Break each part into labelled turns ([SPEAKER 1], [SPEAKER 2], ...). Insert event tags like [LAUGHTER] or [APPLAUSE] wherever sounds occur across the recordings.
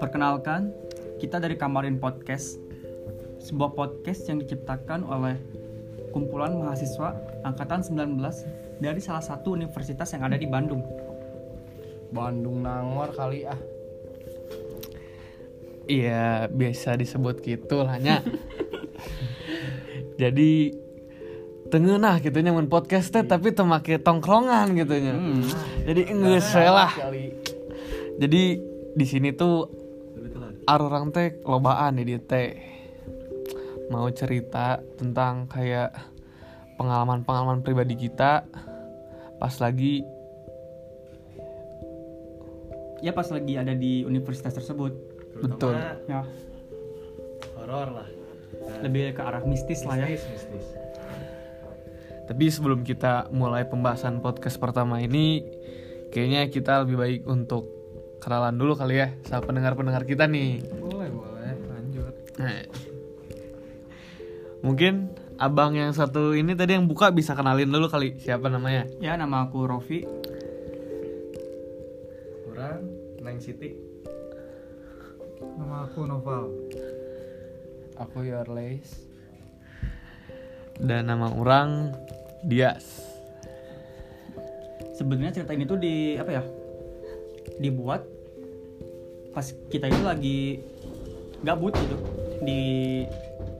[SPEAKER 1] Perkenalkan, kita dari Kamarin Podcast, sebuah podcast yang diciptakan oleh kumpulan mahasiswa angkatan 19 dari salah satu universitas yang ada di Bandung.
[SPEAKER 2] Bandung Nangor kali ah.
[SPEAKER 3] Iya, biasa disebut gitu lah nya. Jadi tengenah gitu nya mun podcast teh tapi teu make tongkrongan gitu nya. Jadi geus we lah.
[SPEAKER 2] Hmm. Kali.
[SPEAKER 3] Jadi di sini tuh arurang teh lobaan di dieu teh. Mau cerita tentang kayak pengalaman-pengalaman pribadi kita pas lagi
[SPEAKER 1] Ya pas lagi ada di universitas tersebut.
[SPEAKER 3] betul.
[SPEAKER 1] Ya,
[SPEAKER 4] horor lah
[SPEAKER 1] lebih ke arah mistis lah ya.
[SPEAKER 4] mistis mistis
[SPEAKER 3] Tapi sebelum kita mulai pembahasan podcast pertama ini, kayaknya kita lebih baik untuk kenalan dulu kali ya sama pendengar-pendengar kita nih.
[SPEAKER 2] Boleh boleh lanjut.
[SPEAKER 3] Nah, Mungkin abang yang satu ini tadi yang buka bisa kenalin dulu kali siapa namanya.
[SPEAKER 1] Ya, nama aku Rofi.
[SPEAKER 4] kurang neng siti
[SPEAKER 2] Nama aku Noval. Aku Yorles.
[SPEAKER 3] Dan nama orang Dias.
[SPEAKER 1] Sebenarnya cerita ini tuh di apa ya? Dibuat pas kita itu lagi gabut gitu di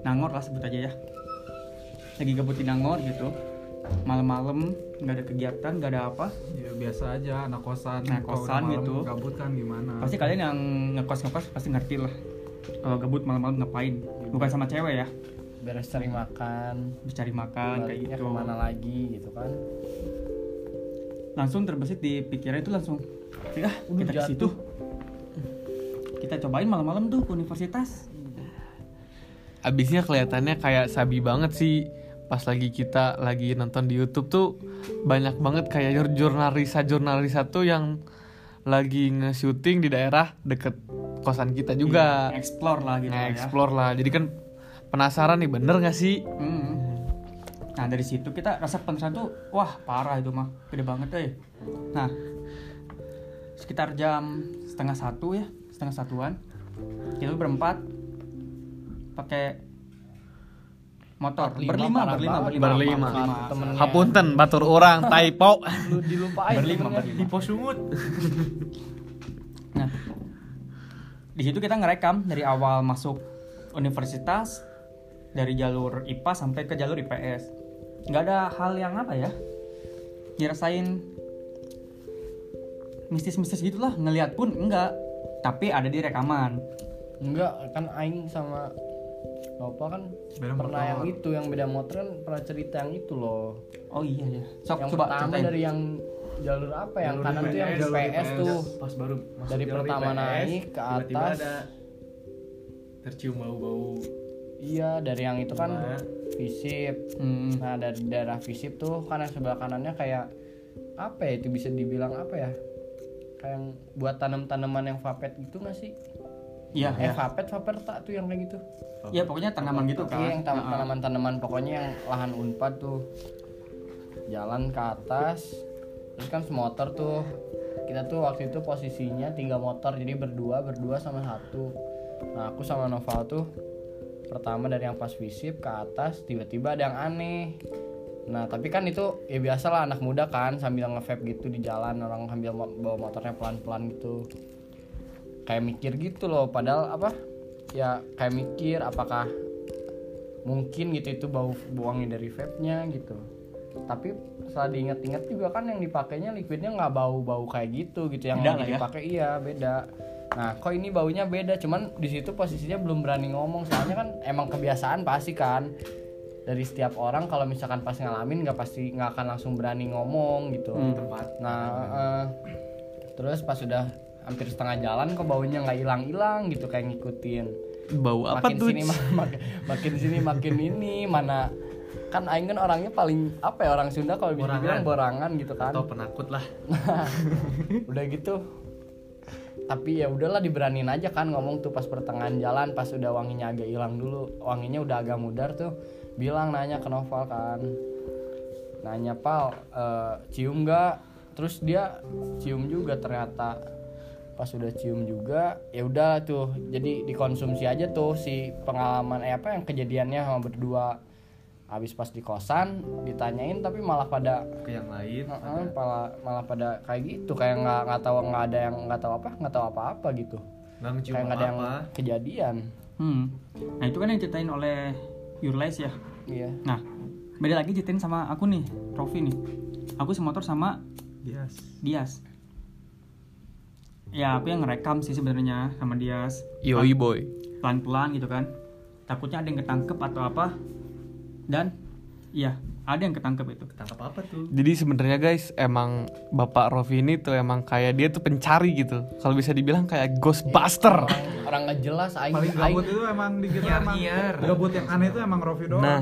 [SPEAKER 1] Nangor lah sebut aja ya. Lagi gabut di Nangor gitu. Malam-malam nggak ada kegiatan, nggak ada apa.
[SPEAKER 2] Ya biasa aja anak kosan.
[SPEAKER 1] Anak
[SPEAKER 2] Kalau
[SPEAKER 1] kosan
[SPEAKER 2] udah malam
[SPEAKER 1] gitu.
[SPEAKER 2] Gabut kan gimana?
[SPEAKER 1] Pasti kalian yang ngekos ngekos pasti ngerti lah. Kalau gabut malam-malam ngapain? Bukan sama cewek ya,
[SPEAKER 5] beres cari makan
[SPEAKER 1] habis cari
[SPEAKER 2] Ah,
[SPEAKER 1] makan kayak
[SPEAKER 5] baliknya
[SPEAKER 1] gitu.
[SPEAKER 5] kemana lagi gitu kan
[SPEAKER 1] Langsung terbesit di pikiran itu langsung, ah kita ke situ. Kita cobain malam-malam tuh ke universitas.
[SPEAKER 3] Abisnya kelihatannya kayak sabi banget sih pas lagi kita lagi nonton di YouTube tuh banyak banget kayak jur- jurnalisa jurnalisa tuh yang lagi nge-syuting di daerah deket kosan kita juga
[SPEAKER 1] Iya.
[SPEAKER 5] Iya,
[SPEAKER 1] Explore lah gitu lah ya.
[SPEAKER 3] nge-explore lah jadi kan penasaran nih bener gak sih
[SPEAKER 1] Hmm. Nah dari situ kita rasa penasaran tuh wah parah itu mah gede banget deh. Nah sekitar jam setengah satu ya setengah satuan kita tuh berempat pakai motor
[SPEAKER 5] Berlima,
[SPEAKER 1] berlima
[SPEAKER 5] parah
[SPEAKER 1] berlima
[SPEAKER 5] banget.
[SPEAKER 1] berlima
[SPEAKER 3] Berlima.
[SPEAKER 1] maaf, berlima.
[SPEAKER 5] Temennya.
[SPEAKER 3] hapunten batur orang typo
[SPEAKER 5] lu dilupain
[SPEAKER 1] Berlima,
[SPEAKER 5] temennya.
[SPEAKER 1] berlima.
[SPEAKER 4] di posungut
[SPEAKER 1] Nah di situ kita ngerekam dari awal masuk universitas dari jalur IPA sampai ke jalur IPS nggak ada hal yang apa ya ngerasain mistis-mistis gitulah ngelihat pun enggak tapi ada di rekaman
[SPEAKER 5] enggak kan aing sama Bapak kan
[SPEAKER 2] Beda
[SPEAKER 5] pernah
[SPEAKER 2] motor.
[SPEAKER 5] yang itu yang beda motor kan pernah cerita yang itu loh
[SPEAKER 1] oh iya ya sok
[SPEAKER 5] yang
[SPEAKER 1] coba
[SPEAKER 5] pertama
[SPEAKER 1] ceritain.
[SPEAKER 5] dari yang jalur apa ya? yang
[SPEAKER 2] Jalur
[SPEAKER 5] kanan tuh yang
[SPEAKER 2] IPS,
[SPEAKER 5] PS tuh
[SPEAKER 4] pas baru masuk
[SPEAKER 5] Dari
[SPEAKER 4] jalur
[SPEAKER 5] pertama naik ke
[SPEAKER 4] tiba-tiba
[SPEAKER 5] atas.
[SPEAKER 4] ada tercium bau-bau
[SPEAKER 5] iya dari yang itu kan
[SPEAKER 4] Nah.
[SPEAKER 5] visip
[SPEAKER 1] Hmm,
[SPEAKER 5] nah dari daerah visip tuh kan yang sebelah kanannya kayak apa ya itu bisa dibilang apa ya kayak yang buat tanam-tanaman yang vapet gitu nggak sih?
[SPEAKER 1] iya
[SPEAKER 5] Eh
[SPEAKER 1] ya.
[SPEAKER 5] vapet vapet tak tuh yang kayak gitu.
[SPEAKER 1] ya pokoknya tanaman gitu kan
[SPEAKER 5] Iya yang tam- tanaman-tanaman pokoknya yang lahan unpad tuh jalan ke atas terus kan semotor tuh kita tuh waktu itu posisinya tiga motor jadi berdua berdua sama satu nah aku sama Noval tuh pertama dari yang pas visip ke atas tiba-tiba ada yang aneh nah tapi kan itu ya biasalah anak muda kan sambil nge-vape gitu di jalan orang sambil mo- bawa motornya pelan-pelan gitu kayak mikir gitu loh padahal apa ya kayak mikir apakah mungkin gitu itu bau buangnya dari vape-nya gitu tapi setelah diingat-ingat juga kan yang dipakainya liquidnya nggak bau-bau kayak gitu gitu yang
[SPEAKER 1] Beda lah ya.
[SPEAKER 5] dipakai iya beda nah kok ini baunya beda cuman di situ posisinya belum berani ngomong soalnya kan emang kebiasaan pasti kan dari setiap orang kalau misalkan pas ngalamin nggak pasti nggak akan langsung berani ngomong gitu
[SPEAKER 3] Hmm.
[SPEAKER 4] tempat
[SPEAKER 5] Nah, eh, terus pas sudah hampir setengah jalan kok baunya nggak hilang-hilang gitu kayak ngikutin.
[SPEAKER 3] [LAUGHS] bau apa
[SPEAKER 5] makin
[SPEAKER 3] tuh
[SPEAKER 5] sini ma- mak- makin sini makin ini mana kan aing kan orangnya paling apa ya orang Sunda kalau bisa dibilang borangan gitu kan.
[SPEAKER 4] atau penakut lah
[SPEAKER 5] udah gitu. Tapi ya udahlah diberanin aja kan ngomong tuh pas pertengahan jalan pas udah wanginya agak hilang dulu. Wanginya udah agak mudar tuh bilang nanya ke Noval kan. Nanya Pal eh, cium nggak? terus dia cium juga ternyata pas udah cium juga ya udah tuh jadi dikonsumsi aja tuh si pengalaman eh apa yang kejadiannya sama berdua habis pas di kosan ditanyain tapi malah pada
[SPEAKER 4] ke yang lain
[SPEAKER 5] Heeh, malah malah pada kayak gitu kayak nggak nggak tahu nggak ada yang nggak tahu apa nggak tahu apa apa gitu
[SPEAKER 4] nggak mencium
[SPEAKER 5] kayak
[SPEAKER 4] apa,
[SPEAKER 5] nggak ada yang kejadian
[SPEAKER 1] Hmm. Nah itu kan yang ceritain oleh Yurlais ya.
[SPEAKER 5] iya
[SPEAKER 1] Nah beda lagi ceritain sama aku nih, Rofi nih. Aku semotor sama
[SPEAKER 4] Bias.
[SPEAKER 1] Dias. Ya aku yang ngerekam sih sebenarnya sama Dias.
[SPEAKER 3] Yoi boy.
[SPEAKER 1] pelan-pelan gitu kan takutnya ada yang ketangkep atau apa dan iya ada yang ketangkep itu
[SPEAKER 4] ketangkap apa tuh
[SPEAKER 3] Jadi sebenarnya guys, emang Bapak Rofi ini tuh emang kayak dia tuh pencari gitu. Kalau bisa dibilang kayak Ghostbuster.
[SPEAKER 5] orang orang nggak jelas aing
[SPEAKER 6] paling
[SPEAKER 5] aing
[SPEAKER 6] gabut itu emang di kita emang
[SPEAKER 4] Nyar-nyar.
[SPEAKER 6] gabut yang aneh itu emang Rofi doang
[SPEAKER 3] Nah,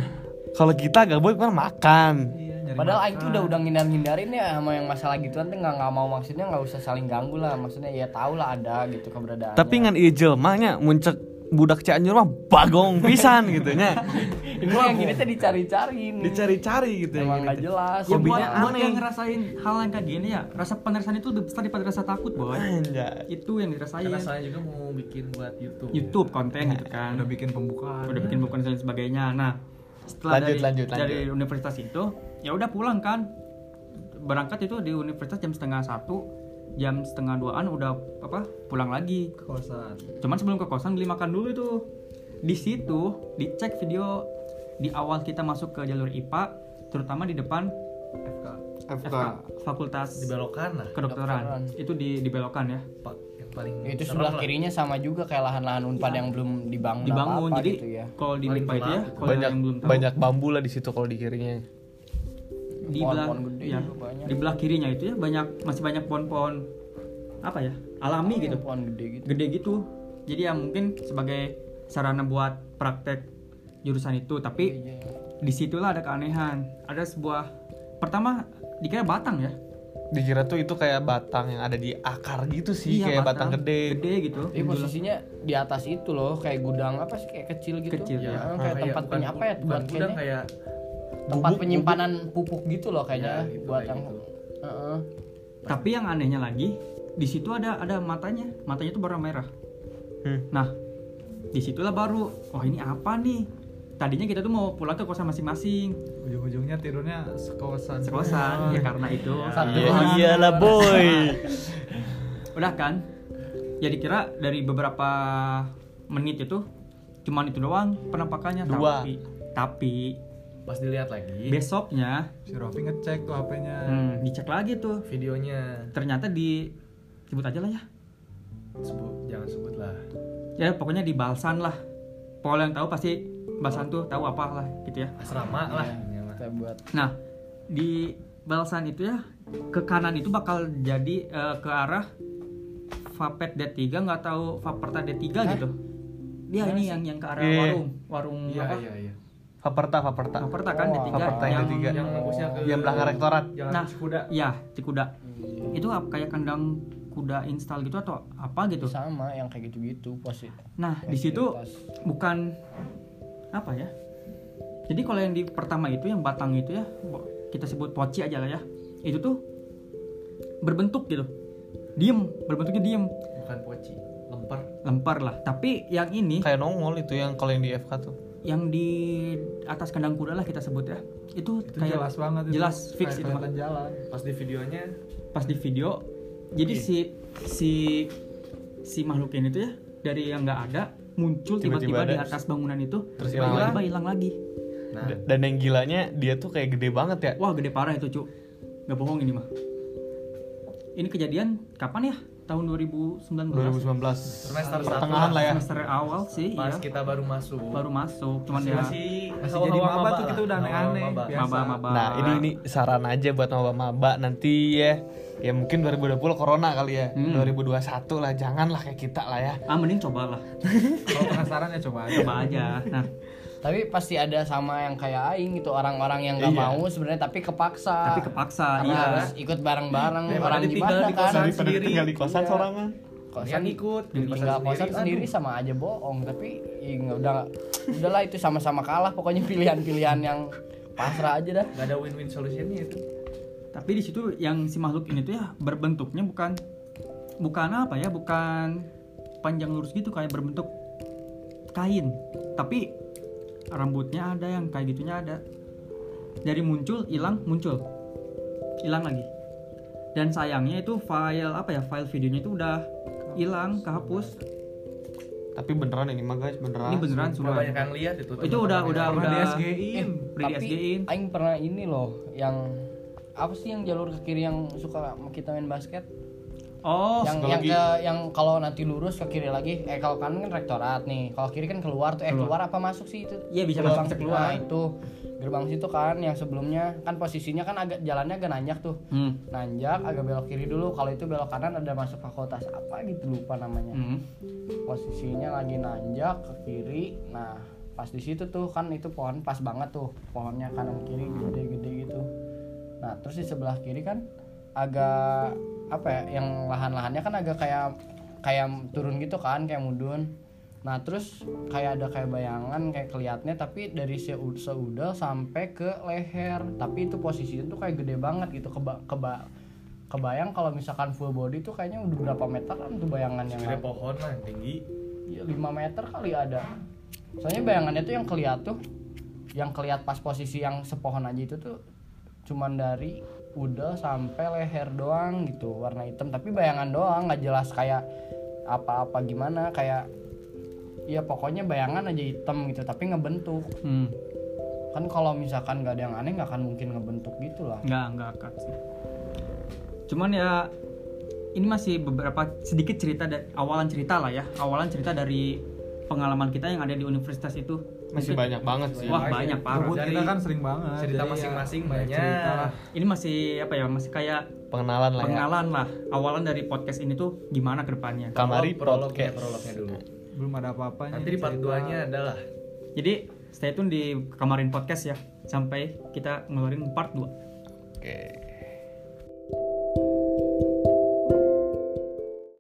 [SPEAKER 3] kalau kita gabut kan makan.
[SPEAKER 6] Iya, nyari
[SPEAKER 5] Padahal
[SPEAKER 6] makan.
[SPEAKER 5] Aing tuh udah udah ngindar ngindarin ya sama yang masalah gituan tuh nggak nggak mau maksudnya nggak usah saling ganggu lah maksudnya ya tau lah ada gitu keberadaan.
[SPEAKER 3] Tapi ngan ieu jelmanya muncak budak Cianjur mah bagong pisan gitu nya.
[SPEAKER 5] ini yang gini tuh dicari-cari ini.
[SPEAKER 3] Dicari-cari gitu yang
[SPEAKER 5] Emang nggak
[SPEAKER 3] gitu.
[SPEAKER 5] jelas.
[SPEAKER 1] ya buat,
[SPEAKER 3] Hobinya
[SPEAKER 1] buat
[SPEAKER 3] aneh.
[SPEAKER 1] yang ngerasain hal yang kayak gini ya rasa penasaran itu lebih besar daripada rasa takut boy
[SPEAKER 3] Anjay.
[SPEAKER 1] itu yang dirasain
[SPEAKER 4] karena saya juga mau bikin buat YouTube
[SPEAKER 1] YouTube konten gitu kan
[SPEAKER 6] udah bikin pembukaan
[SPEAKER 1] udah bikin bukan dan sebagainya nah setelah
[SPEAKER 5] Lanjut,
[SPEAKER 1] dari
[SPEAKER 5] lanjut,
[SPEAKER 1] dari universitas itu ya udah pulang kan berangkat itu di universitas jam setengah satu jam setengah duaan udah apa pulang lagi
[SPEAKER 6] ke kosan
[SPEAKER 1] Cuman sebelum ke kosan beli makan dulu itu. Di situ dicek video di awal kita masuk ke jalur IPA, terutama di depan
[SPEAKER 6] FK
[SPEAKER 1] FK, Fakultas
[SPEAKER 4] di belok kanan
[SPEAKER 1] Kedokteran. Itu di di belokan ya.
[SPEAKER 4] pak yang paling
[SPEAKER 5] Itu
[SPEAKER 4] serem
[SPEAKER 5] sebelah
[SPEAKER 4] lah.
[SPEAKER 5] kirinya sama juga kayak lahan-lahan unpad yang belum dibangun.
[SPEAKER 1] Dibangun.
[SPEAKER 5] apa-apa
[SPEAKER 1] Jadi
[SPEAKER 5] gitu ya.
[SPEAKER 1] kalau di
[SPEAKER 4] Paling
[SPEAKER 1] IPA itu ya,
[SPEAKER 4] gelap.
[SPEAKER 1] kalau
[SPEAKER 3] Banyak
[SPEAKER 1] yang belum tahu
[SPEAKER 3] banyak bambu lah di situ kalau di kirinya.
[SPEAKER 1] di
[SPEAKER 5] Pohon-pohon
[SPEAKER 1] belah
[SPEAKER 5] gede
[SPEAKER 1] ya,
[SPEAKER 5] juga banyak.
[SPEAKER 1] di belah kirinya itu ya banyak masih banyak pohon-pohon apa ya? alami gitu.
[SPEAKER 5] pohon gede gitu.
[SPEAKER 1] Gede gitu. Jadi ya mungkin sebagai sarana buat praktek jurusan itu, tapi
[SPEAKER 5] Iya.
[SPEAKER 1] disitulah ada keanehan ada sebuah pertama dikira batang ya
[SPEAKER 3] Dikira tuh itu kayak batang yang ada di akar gitu sih, kayak batang,
[SPEAKER 1] Iya,
[SPEAKER 3] gede.
[SPEAKER 1] gede gitu
[SPEAKER 5] Tapi posisinya di atas itu loh kayak gudang apa sih kayak kecil gitu.
[SPEAKER 1] Kecil,
[SPEAKER 3] Iya,
[SPEAKER 5] Ya,
[SPEAKER 1] ya.
[SPEAKER 5] kayak tempat
[SPEAKER 4] bukan-
[SPEAKER 5] peny apa ya
[SPEAKER 4] bukan
[SPEAKER 5] buat
[SPEAKER 4] gudang,
[SPEAKER 5] kayaknya
[SPEAKER 4] kayak
[SPEAKER 5] tempat penyimpanan pupuk gitu loh kayaknya
[SPEAKER 4] Ya, gitu,
[SPEAKER 5] buat
[SPEAKER 4] kayak
[SPEAKER 5] yang
[SPEAKER 4] gitu.
[SPEAKER 5] Heeh.
[SPEAKER 1] tapi yang anehnya lagi di situ ada ada matanya matanya itu warna merah
[SPEAKER 3] Hmm.
[SPEAKER 1] nah disitulah baru oh ini apa nih tadinya kita tuh mau pulang ke kosan masing-masing
[SPEAKER 6] ujung-ujungnya tidurnya sekosan
[SPEAKER 1] sekosan ya karena itu Iya.
[SPEAKER 5] Satu
[SPEAKER 4] Iya,
[SPEAKER 3] Ya,
[SPEAKER 5] lahan.
[SPEAKER 3] iyalah [LAUGHS] boy.
[SPEAKER 1] udah kan ya dikira dari beberapa menit itu cuman itu doang penampakannya
[SPEAKER 3] Dua.
[SPEAKER 1] tapi tapi
[SPEAKER 4] pas dilihat lagi
[SPEAKER 6] Iya.
[SPEAKER 1] besoknya
[SPEAKER 6] si Rofi ngecek tuh HP-nya
[SPEAKER 1] hmm, dicek lagi tuh
[SPEAKER 4] videonya
[SPEAKER 1] ternyata di sebut aja lah ya
[SPEAKER 4] sebut jangan sebut lah
[SPEAKER 1] ya pokoknya di Balsan lah kalau yang tahu pasti Balsan tuh tahu apa lah gitu ya
[SPEAKER 4] asrama lah
[SPEAKER 6] Iya,
[SPEAKER 4] Ini mah.
[SPEAKER 5] Kita buat
[SPEAKER 1] nah di Balsan itu ya ke kanan itu bakal jadi eh, ke arah Vapet D3 nggak tahu Vaperta D3 gitu dia ini yang yang ke arah
[SPEAKER 3] Iya.
[SPEAKER 1] warung warung
[SPEAKER 4] iya
[SPEAKER 1] apa
[SPEAKER 4] iya iya
[SPEAKER 3] Faperta, Faperta.
[SPEAKER 1] Vaperta kan
[SPEAKER 5] Oh,
[SPEAKER 1] D3
[SPEAKER 3] Vaperta yang D3.
[SPEAKER 1] Iya.
[SPEAKER 4] yang mampusnya ke
[SPEAKER 3] Yang belakang rektorat.
[SPEAKER 4] yang
[SPEAKER 1] Nah.
[SPEAKER 4] kuda
[SPEAKER 1] ya di kuda itu apa kayak kandang kuda install gitu atau apa gitu
[SPEAKER 5] sama yang kayak gitu-gitu pasti.
[SPEAKER 1] nah di situ bukan apa ya jadi kalau yang di pertama itu yang batang itu ya bo- kita sebut poci aja lah ya itu tuh berbentuk gitu diem berbentuknya diem
[SPEAKER 4] bukan poci lempar
[SPEAKER 1] lempar lah tapi yang ini
[SPEAKER 3] Kayak nongol itu yang kalau yang di FK tuh.
[SPEAKER 1] yang di atas kandang kuda lah kita sebut ya itu,
[SPEAKER 6] itu
[SPEAKER 1] kayak
[SPEAKER 6] jelas banget itu.
[SPEAKER 1] jelas fix
[SPEAKER 6] Kayak
[SPEAKER 1] itu
[SPEAKER 6] kelihatan jalan
[SPEAKER 4] pas di videonya
[SPEAKER 1] pas di video jadi si si si makhluk ini tuh ya dari yang nggak ada muncul
[SPEAKER 3] Tiba-tiba
[SPEAKER 1] tiba-tiba di
[SPEAKER 3] ada.
[SPEAKER 1] atas bangunan itu
[SPEAKER 3] Terus hilang
[SPEAKER 1] tiba-tiba hilang lagi
[SPEAKER 4] nah
[SPEAKER 3] D- Dan yang gilanya dia tuh kayak gede banget ya.
[SPEAKER 1] Wah gede parah itu cu Gak bohong ini mah Ini kejadian kapan ya? Tahun 2019
[SPEAKER 3] 2019.
[SPEAKER 4] semester satu
[SPEAKER 3] Pertengahan lah ya.
[SPEAKER 1] Semester awal sih
[SPEAKER 4] pas
[SPEAKER 1] ya
[SPEAKER 4] kita baru masuk
[SPEAKER 1] Baru masuk Cuman ya
[SPEAKER 4] masih
[SPEAKER 6] masih
[SPEAKER 4] hawa-hawa
[SPEAKER 6] jadi maba tuh
[SPEAKER 4] lah.
[SPEAKER 6] kita udah
[SPEAKER 4] Hawa-hawa
[SPEAKER 6] aneh-aneh
[SPEAKER 4] maba.
[SPEAKER 6] biasa.
[SPEAKER 1] Maba-maba
[SPEAKER 3] Nah, ini ini saran aja buat maba-maba nanti ya. Ya mungkin 2020 corona kali ya.
[SPEAKER 1] Hmm.
[SPEAKER 3] 2021 lah, janganlah kayak kita lah ya.
[SPEAKER 1] Ah mending cobalah
[SPEAKER 6] [LAUGHS] kalau penasaran ya coba aja
[SPEAKER 1] Coba aja Nah
[SPEAKER 5] tapi pasti ada sama yang kayak aing gitu orang-orang yang nggak mau sebenarnya tapi kepaksa
[SPEAKER 1] tapi kepaksa
[SPEAKER 5] Ah, karena
[SPEAKER 1] Iya
[SPEAKER 5] harus ikut bareng-bareng orang
[SPEAKER 4] ditinggal
[SPEAKER 5] gimana
[SPEAKER 4] di
[SPEAKER 5] kan
[SPEAKER 4] kosan.
[SPEAKER 3] Daripada
[SPEAKER 4] sendiri. Iya.
[SPEAKER 3] tinggal di kosan sorangan.
[SPEAKER 4] Kalian
[SPEAKER 5] kosan
[SPEAKER 4] ikut
[SPEAKER 5] tinggal kosan sendiri sama aja bohong tapi ih, nggak udah udahlah itu sama-sama kalah pokoknya pilihan-pilihan yang pasrah aja dah
[SPEAKER 4] Gak ada win-win solutionnya itu
[SPEAKER 1] tapi di situ yang si makhluk ini tuh ya berbentuknya bukan bukan apa ya bukan panjang lurus gitu kayak berbentuk kain tapi rambutnya ada yang kayak gitunya ada dari muncul hilang muncul hilang lagi dan sayangnya itu file apa ya file videonya itu udah hilang kehapus
[SPEAKER 3] Tapi beneran ini mah guys, beneran.
[SPEAKER 1] ini beneran
[SPEAKER 4] Gak
[SPEAKER 1] sudah
[SPEAKER 4] banyak yang lihat itu.
[SPEAKER 1] itu udah udah
[SPEAKER 6] Pernah
[SPEAKER 1] udah
[SPEAKER 6] di
[SPEAKER 4] Eh,
[SPEAKER 6] SG-in.
[SPEAKER 1] udah di SG-in.
[SPEAKER 5] Eh, Aing pernah ini loh yang apa sih yang jalur ke kiri yang suka kita main basket?
[SPEAKER 1] oh
[SPEAKER 5] yang
[SPEAKER 3] sekali
[SPEAKER 5] yang
[SPEAKER 3] lagi.
[SPEAKER 5] ke yang kalau nanti lurus ke kiri lagi. Eh kalau kanan kan rektorat nih. Kalau kiri kan keluar tuh. Eh keluar, apa masuk sih itu?
[SPEAKER 1] Iya, bisa
[SPEAKER 5] Gerbang-
[SPEAKER 1] masuk, bisa keluar.
[SPEAKER 5] Nah, itu gerbang situ kan yang sebelumnya kan posisinya kan agak jalannya agak nanjak tuh.
[SPEAKER 1] hmm.
[SPEAKER 5] Nanjak agak belok kiri dulu. Kalau itu belok kanan ada masuk fakultas apa gitu lupa namanya.
[SPEAKER 1] Hmm.
[SPEAKER 5] posisinya lagi nanjak ke kiri nah pas di situ tuh kan itu pohon pas banget tuh pohonnya kanan kiri gede-gede gitu nah terus di sebelah kiri kan agak apa ya yang lahan-lahannya kan agak kayak kayak turun gitu kan kayak mudun nah terus kayak ada kayak bayangan kayak kelihatnya tapi dari seu- seudel sampai ke leher tapi itu posisinya tuh kayak gede banget gitu keba keba kebayang kalau misalkan full body tuh kayaknya udah berapa meteran tuh bayangannya kan?
[SPEAKER 4] Segede pohon lah yang tinggi.
[SPEAKER 5] Ya, 5 meter kali ada. Soalnya bayangannya tuh yang keliat tuh yang keliat pas posisi yang sepohon aja itu tuh cuman dari udah sampai leher doang gitu warna hitam tapi bayangan doang nggak jelas kayak apa-apa gimana kayak ya pokoknya bayangan aja hitam gitu tapi ngebentuk
[SPEAKER 1] Hmm.
[SPEAKER 5] kan kalau misalkan nggak ada yang aneh nggak akan mungkin ngebentuk gitu lah
[SPEAKER 1] nggak nggak akan sih cuman ya ini masih beberapa sedikit cerita dari awalan cerita lah ya awalan cerita dari pengalaman kita yang ada di universitas itu
[SPEAKER 3] Masih
[SPEAKER 1] Mungkin-
[SPEAKER 3] banyak banget sih.
[SPEAKER 1] wah banyak parah
[SPEAKER 6] Gabut
[SPEAKER 4] Dari
[SPEAKER 6] kita kan sering banget.
[SPEAKER 4] cerita
[SPEAKER 6] jadi ya
[SPEAKER 4] masing-masing
[SPEAKER 6] banyak
[SPEAKER 4] banyak.
[SPEAKER 6] cerita lah.
[SPEAKER 1] ini masih apa ya masih kayak
[SPEAKER 3] Pengenalan lah ya.
[SPEAKER 1] pengenalan lah awalan dari podcast ini tuh gimana ke depannya
[SPEAKER 3] Kamari
[SPEAKER 4] Oh, prolognya
[SPEAKER 3] podcast.
[SPEAKER 4] prolognya dulu.
[SPEAKER 6] Belum ada apa-apanya.
[SPEAKER 4] Nanti di part
[SPEAKER 6] cerita.
[SPEAKER 4] 2 nya adalah
[SPEAKER 1] jadi stay tune di kamarin podcast ya sampai kita ngeluarin part 2
[SPEAKER 3] Oke.